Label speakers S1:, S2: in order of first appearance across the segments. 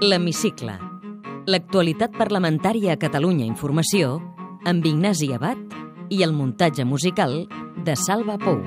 S1: L'Hemicicle. L'actualitat parlamentària a Catalunya Informació amb Ignasi Abad i el muntatge musical de Salva Pou.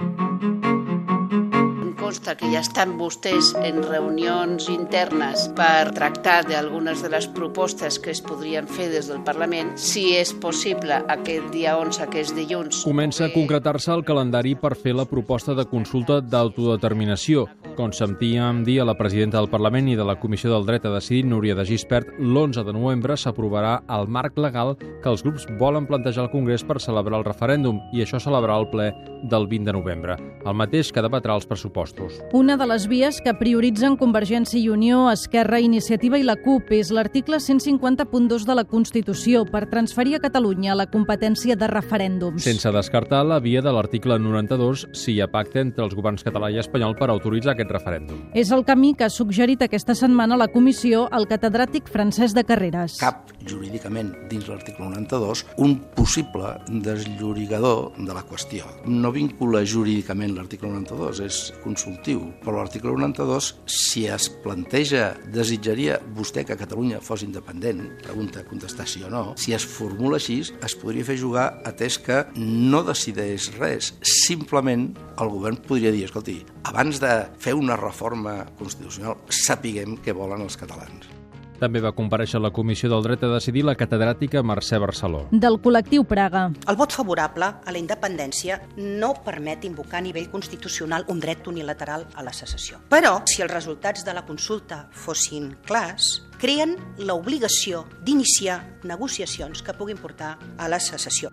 S2: Em consta que ja estan vostès en reunions internes per tractar d'algunes de les propostes que es podrien fer des del Parlament, si és possible aquest dia 11, que és dilluns. Eh,
S3: Comença a concretar-se el calendari per fer la proposta de consulta d'autodeterminació. Com sentíem dir a la presidenta del Parlament i de la Comissió del Dret a Decidir, Núria de Gispert, l'11 de novembre s'aprovarà el marc legal que els grups volen plantejar al Congrés per celebrar el referèndum i això celebrarà el ple del 20 de novembre, el mateix que debatrà els pressupostos.
S4: Una de les vies que prioritzen Convergència i Unió, Esquerra, Iniciativa i la CUP és l'article 150.2 de la Constitució per transferir a Catalunya la competència de referèndums.
S3: Sense descartar la via de l'article 92 si hi ha pacte entre els governs català i espanyol per autoritzar aquest referèndum.
S4: És el camí que ha suggerit aquesta setmana a la comissió el catedràtic francès de Carreras.
S5: cap jurídicament dins l'article 92 un possible desllorigador de la qüestió. No vincula jurídicament l'article 92, és consultiu, però l'article 92, si es planteja, desitjaria vostè que Catalunya fos independent, pregunta contestar sí o no, si es formula així, es podria fer jugar atès que no decideix res, simplement el govern podria dir, escolti, abans de fer una reforma constitucional, sapiguem què volen els catalans.
S3: També va compareixer a la Comissió del Dret a Decidir la catedràtica Mercè Barceló.
S4: Del col·lectiu Praga.
S6: El vot favorable a la independència no permet invocar a nivell constitucional un dret unilateral a la secessió. Però, si els resultats de la consulta fossin clars, creen l'obligació d'iniciar negociacions que puguin portar a la secessió.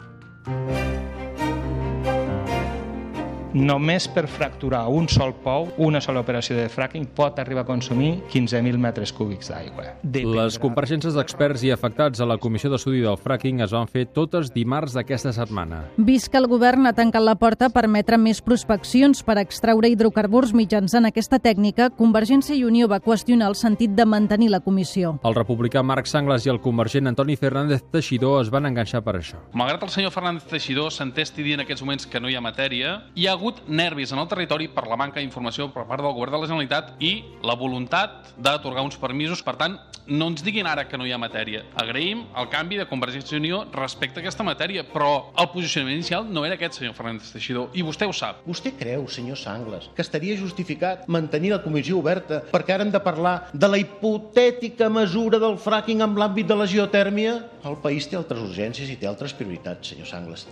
S7: Només per fracturar un sol pou, una sola operació de fracking pot arribar a consumir 15.000 metres cúbics d'aigua.
S3: Les compareixences d'experts i afectats a la Comissió d'Estudi del Fracking es van fer totes dimarts d'aquesta setmana.
S4: Vist que el govern ha tancat la porta per emetre més prospeccions per extraure hidrocarburs mitjançant aquesta tècnica, Convergència i Unió va qüestionar el sentit de mantenir la comissió.
S3: El republicà Marc Sangles i el convergent Antoni Fernández Teixidor es van enganxar per això.
S8: Malgrat el senyor Fernández Teixidor s'entesti dir en aquests moments que no hi ha matèria, hi ha hagut nervis en el territori per la manca d'informació per part del govern de la Generalitat i la voluntat d'atorgar uns permisos. Per tant, no ens diguin ara que no hi ha matèria. Agraïm el canvi de Convergència i Unió respecte a aquesta matèria, però el posicionament inicial no era aquest, senyor Fernández Teixidor, i vostè ho sap.
S9: Vostè creu, senyor Sangles, que estaria justificat mantenir la comissió oberta perquè ara hem de parlar de la hipotètica mesura del fracking en l'àmbit de la geotèrmia? El país té altres urgències i té altres prioritats, senyor Sangles.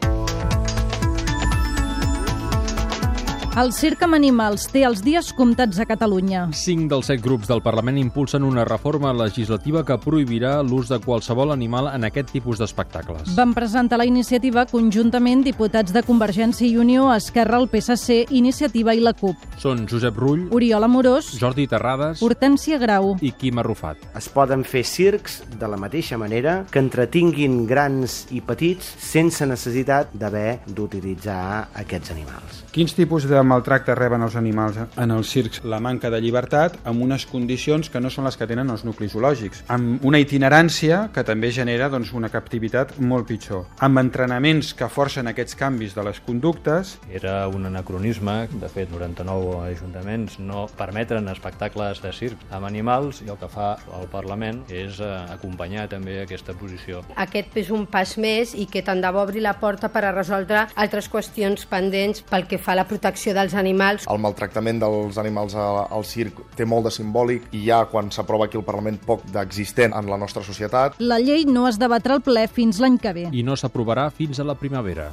S4: El circ amb animals té els dies comptats a Catalunya.
S3: Cinc dels set grups del Parlament impulsen una reforma legislativa que prohibirà l'ús de qualsevol animal en aquest tipus d'espectacles.
S4: Van presentar la iniciativa conjuntament diputats de Convergència i Unió, Esquerra, el PSC, Iniciativa i la CUP.
S3: Són Josep Rull,
S4: Oriol Amorós,
S3: Jordi Terrades
S4: Hortènsia Grau,
S3: i Quim Arrufat.
S10: Es poden fer circs de la mateixa manera que entretinguin grans i petits sense necessitat d'haver d'utilitzar aquests animals.
S11: Quins tipus de maltracte reben els animals en els circs? La manca de llibertat amb unes condicions que no són les que tenen els nuclis zoològics, amb una itinerància que també genera doncs, una captivitat molt pitjor, amb entrenaments que forcen aquests canvis de les conductes
S12: Era un anacronisme, de fet 99 ajuntaments no permetren espectacles de circ amb animals i el que fa el Parlament és eh, acompanyar també aquesta posició.
S13: Aquest és un pas més i que tant de bo obri la porta per a resoldre altres qüestions pendents pel que fa a la protecció dels animals.
S14: El maltractament dels animals a- al circ té molt de simbòlic i hi ha, quan s'aprova aquí al Parlament, poc d'existent en la nostra societat.
S4: La llei no es debatrà al ple fins l'any que ve.
S3: I no s'aprovarà fins a la primavera.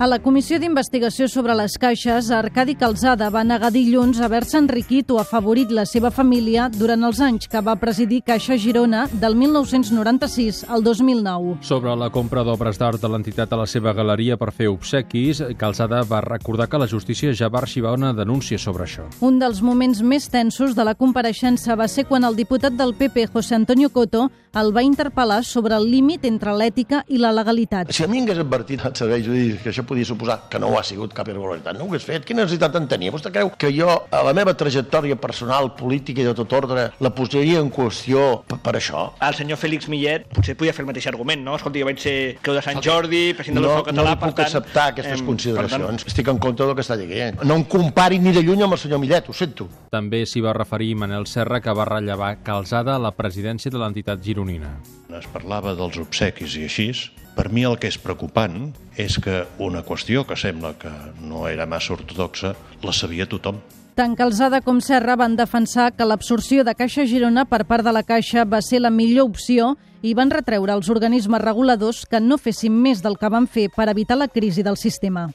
S4: A la Comissió d'Investigació sobre les Caixes, Arcadi Calzada va negar dilluns haver-se enriquit o afavorit la seva família durant els anys que va presidir Caixa Girona del 1996 al 2009.
S3: Sobre la compra d'obres d'art de l'entitat a la seva galeria per fer obsequis, Calzada va recordar que la justícia ja va arxivar una denúncia sobre això.
S4: Un dels moments més tensos de la compareixença va ser quan el diputat del PP, José Antonio Coto, el va interpel·lar sobre el límit entre l'ètica i la legalitat.
S9: Si a mi m'hagués advertit els serveis jurídics que això
S15: podia suposar que no ho ha sigut cap irregularitat. No ho hagués fet. Quina necessitat en tenia? Vostè creu que jo, a la meva trajectòria personal, política i de tot ordre, la posaria en qüestió per, per això?
S16: El senyor Fèlix Millet potser podia fer el mateix argument, no? Escolta, jo vaig ser creu de Sant Jordi, president
S15: No,
S16: de l'Orfeo
S15: no
S16: Català,
S15: li puc acceptar aquestes
S16: em,
S15: consideracions. Estic en contra del que està dient. No em compari ni de lluny amb el senyor Millet, ho sento.
S3: També s'hi va referir Manel Serra, que va rellevar calçada a la presidència de l'entitat gironina.
S17: Es parlava dels obsequis i així. Per mi el que és preocupant és que una qüestió que sembla que no era massa ortodoxa la sabia tothom.
S4: Tant Calzada com Serra van defensar que l'absorció de Caixa Girona per part de la Caixa va ser la millor opció i van retreure als organismes reguladors que no fessin més del que van fer per evitar la crisi del sistema.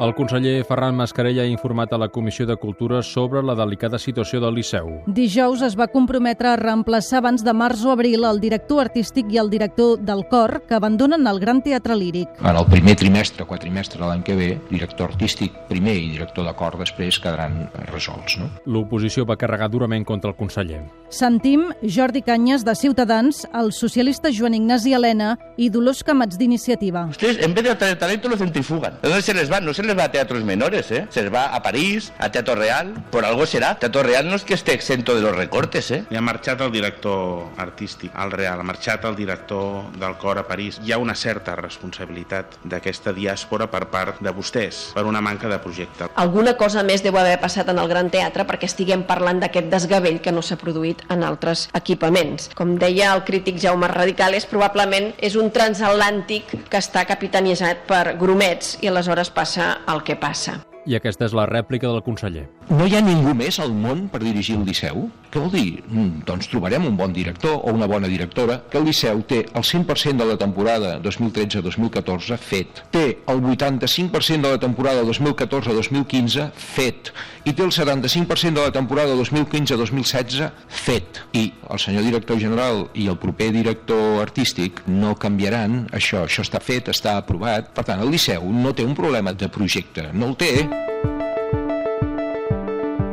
S3: El conseller Ferran Mascarell ha informat a la Comissió de Cultura sobre la delicada situació del Liceu.
S4: Dijous es va comprometre a reemplaçar abans de març o abril el director artístic i el director del cor que abandonen el Gran Teatre Líric.
S11: En el primer trimestre, quatrimestre de l'any que ve, director artístic primer i director de cor després quedaran eh, resolts. No?
S3: L'oposició va carregar durament contra el conseller.
S4: Sentim Jordi Canyes, de Ciutadans, el socialista Joan Ignasi Helena i Dolors Camats d'Iniciativa.
S18: Ustedes en vez de atraer talento lo centrifugan. ¿De dónde se les va? No se les va a teatros menores, ¿eh? Se les va a París, a Teatro Real. Por algo será. Teatro Real no es que esté exento de los recortes, ¿eh?
S19: Li ha marxat el director artístic al Real, ha marxat el director del cor a París. Hi ha una certa responsabilitat d'aquesta diàspora per part de vostès, per una manca de projecte.
S20: Alguna cosa més deu haver passat en el Gran Teatre perquè estiguem parlant d'aquest desgavell que no s'ha produït en altres equipaments. Com deia el crític Jaume Radicales, probablement és un transatlàntic que està capitanejat per grumets i aleshores passa el que passa.
S3: I aquesta és la rèplica del conseller.
S11: No hi ha ningú més al món per dirigir el Liceu? Què vol dir? Mm, doncs trobarem un bon director o una bona directora, que el Liceu té el 100% de la temporada 2013-2014 fet, té el 85% de la temporada 2014-2015 fet, i té el 75% de la temporada 2015-2016 fet. I el senyor director general i el proper director artístic no canviaran això. Això està fet, està aprovat. Per tant, el Liceu no té un problema de projecte, no el té.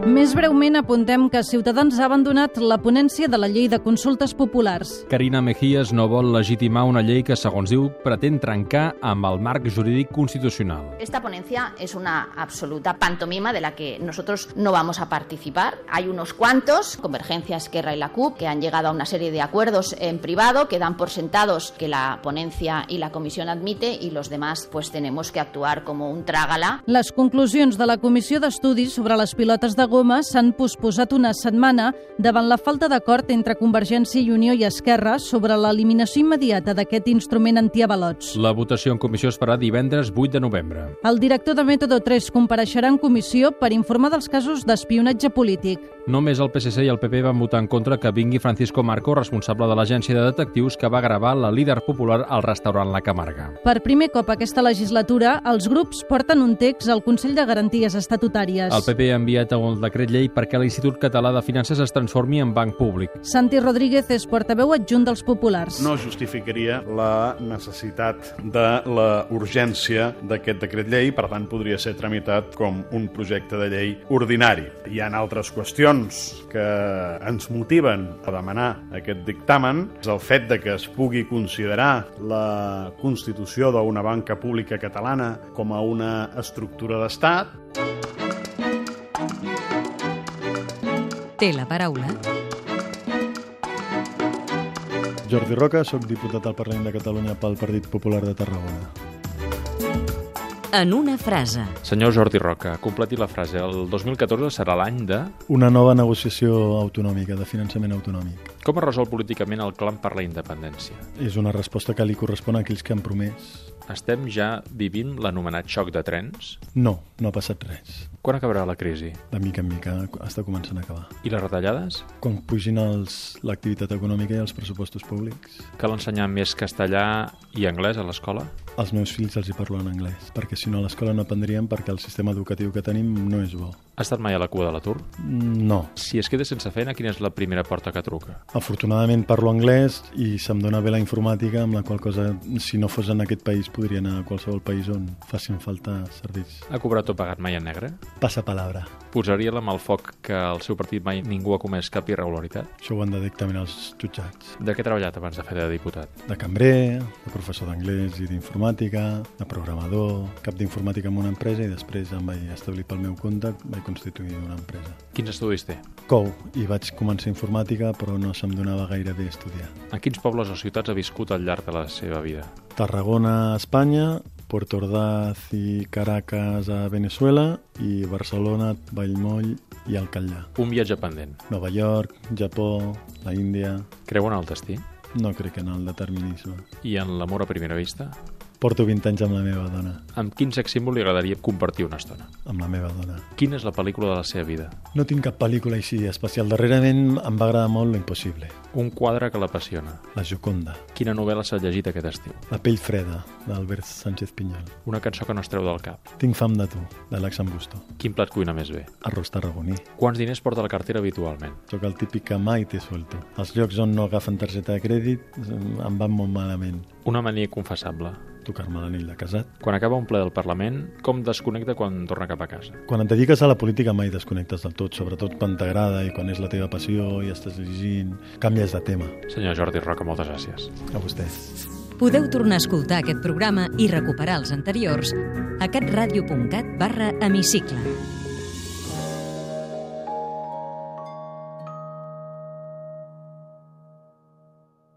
S4: Més breument apuntem que Ciutadans ha abandonat la ponència de la llei de consultes populars.
S3: Carina Mejías no vol legitimar una llei que, segons diu, pretén trencar amb el marc jurídic constitucional.
S2: Esta ponencia es una absoluta pantomima de la que nosotros no vamos a participar. Hay unos cuantos, Convergencia, Esquerra y la CUP, que han llegado a una serie de acuerdos en privado que dan por sentados que la ponencia y la comisión admite y los demás pues tenemos que actuar como un trágala.
S4: Les conclusions de la Comissió d'Estudis sobre les pilotes de goma s'han posposat una setmana davant la falta d'acord entre Convergència i Unió i Esquerra sobre l'eliminació immediata d'aquest instrument antiavalots.
S3: La votació en comissió es farà divendres 8 de novembre.
S4: El director de Método 3 compareixerà en comissió per informar dels casos d'espionatge polític.
S3: Només el PSC i el PP van votar en contra que vingui Francisco Marco, responsable de l'agència de detectius que va gravar la líder popular al restaurant La Camarga.
S4: Per primer cop aquesta legislatura, els grups porten un text al Consell de Garanties Estatutàries.
S3: El PP ha enviat un decret llei perquè l'Institut Català de Finances es transformi en banc públic.
S4: Santi Rodríguez és portaveu adjunt dels populars.
S21: No justificaria la necessitat de la urgència d'aquest decret llei, per tant podria ser tramitat com un projecte de llei ordinari. Hi ha altres qüestions que ens motiven a demanar aquest dictamen. El fet de que es pugui considerar la constitució d'una banca pública catalana com a una estructura d'estat
S1: Té la paraula
S8: Jordi Roca, sóc diputat al Parlament de Catalunya pel Partit Popular de Tarragona.
S1: en una frase.
S22: Senyor Jordi Roca, completi la frase. El 2014 serà l'any de...
S8: Una nova negociació autonòmica, de finançament autonòmic.
S22: Com es resol políticament el clam per la independència?
S8: És una resposta que li correspon a aquells que han promès.
S22: Estem ja vivint l'anomenat xoc de trens?
S8: No, no ha passat res.
S22: Quan acabarà la crisi?
S8: De mica en mica està començant a acabar.
S22: I les retallades?
S8: Quan pugin els- l'activitat econòmica i els pressupostos públics,
S22: Cal ensenyar més castellà i anglès a l'escola?
S8: els meus fills els hi parlo en anglès, perquè si no a l'escola no aprendrien perquè el sistema educatiu que tenim no és bo.
S3: Has estat mai a la cua de l'atur?
S8: No.
S3: Si es queda sense feina, quina és la primera porta que truca?
S8: Afortunadament parlo anglès i se'm dona bé la informàtica, amb la qual cosa, si no fos en aquest país, podria anar a qualsevol país on facin falta serveis.
S3: Ha cobrat o pagat mai en negre?
S8: Passa palabra.
S3: Posaria la mà al foc que al seu partit mai ningú ha comès cap irregularitat?
S8: Això ho han de dictaminar els jutjats.
S3: De què ha treballat abans de fer de diputat?
S8: De cambrer, de professor d'anglès i d'informàtica, de programador, cap d'informàtica en una empresa i després em vaig establir pel meu compte, vaig constituir una empresa.
S3: Quins estudis té?
S8: Cou, i vaig començar informàtica, però no se'm donava gaire bé estudiar.
S3: A quins pobles o ciutats ha viscut al llarg de la seva vida?
S8: Tarragona, Espanya, Puerto Ordaz i Caracas a Venezuela i Barcelona, Vallmoll i Alcallà.
S3: Un viatge pendent.
S8: Nova York, Japó, la Índia...
S3: Creu en el destí?
S8: No crec en el determinisme.
S3: I en l'amor a primera vista?
S8: Porto 20 anys amb la meva dona.
S3: Amb quin sex símbol li agradaria compartir una estona?
S8: Amb la meva dona.
S3: Quina és la pel·lícula de la seva vida?
S8: No tinc cap pel·lícula així especial. Darrerament em va agradar molt l'impossible.
S3: Un quadre que l'apassiona.
S8: La Joconda.
S3: Quina novel·la s'ha llegit aquest estiu?
S8: La pell freda, d'Albert Sánchez Pinyol.
S3: Una cançó que no es treu del cap.
S8: Tinc fam de tu, d'Àlex Ambusto.
S3: Quin plat cuina més bé?
S8: Arròs tarragoní.
S3: Quants diners porta a la cartera habitualment?
S8: Sóc el típic que mai té suelto. Els llocs on no agafen targeta de crèdit mm, em van molt malament.
S3: Una mania confessable
S8: tocar-me l'anell de casat.
S3: Quan acaba un ple del Parlament, com desconnecta quan torna cap a casa?
S8: Quan et dediques a la política mai desconnectes del tot, sobretot quan t'agrada i quan és la teva passió i estàs llegint, canvies de tema.
S3: Senyor Jordi Roca, moltes gràcies.
S8: A vostès.
S1: Podeu tornar a escoltar aquest programa i recuperar els anteriors a catradio.cat barra hemicicle.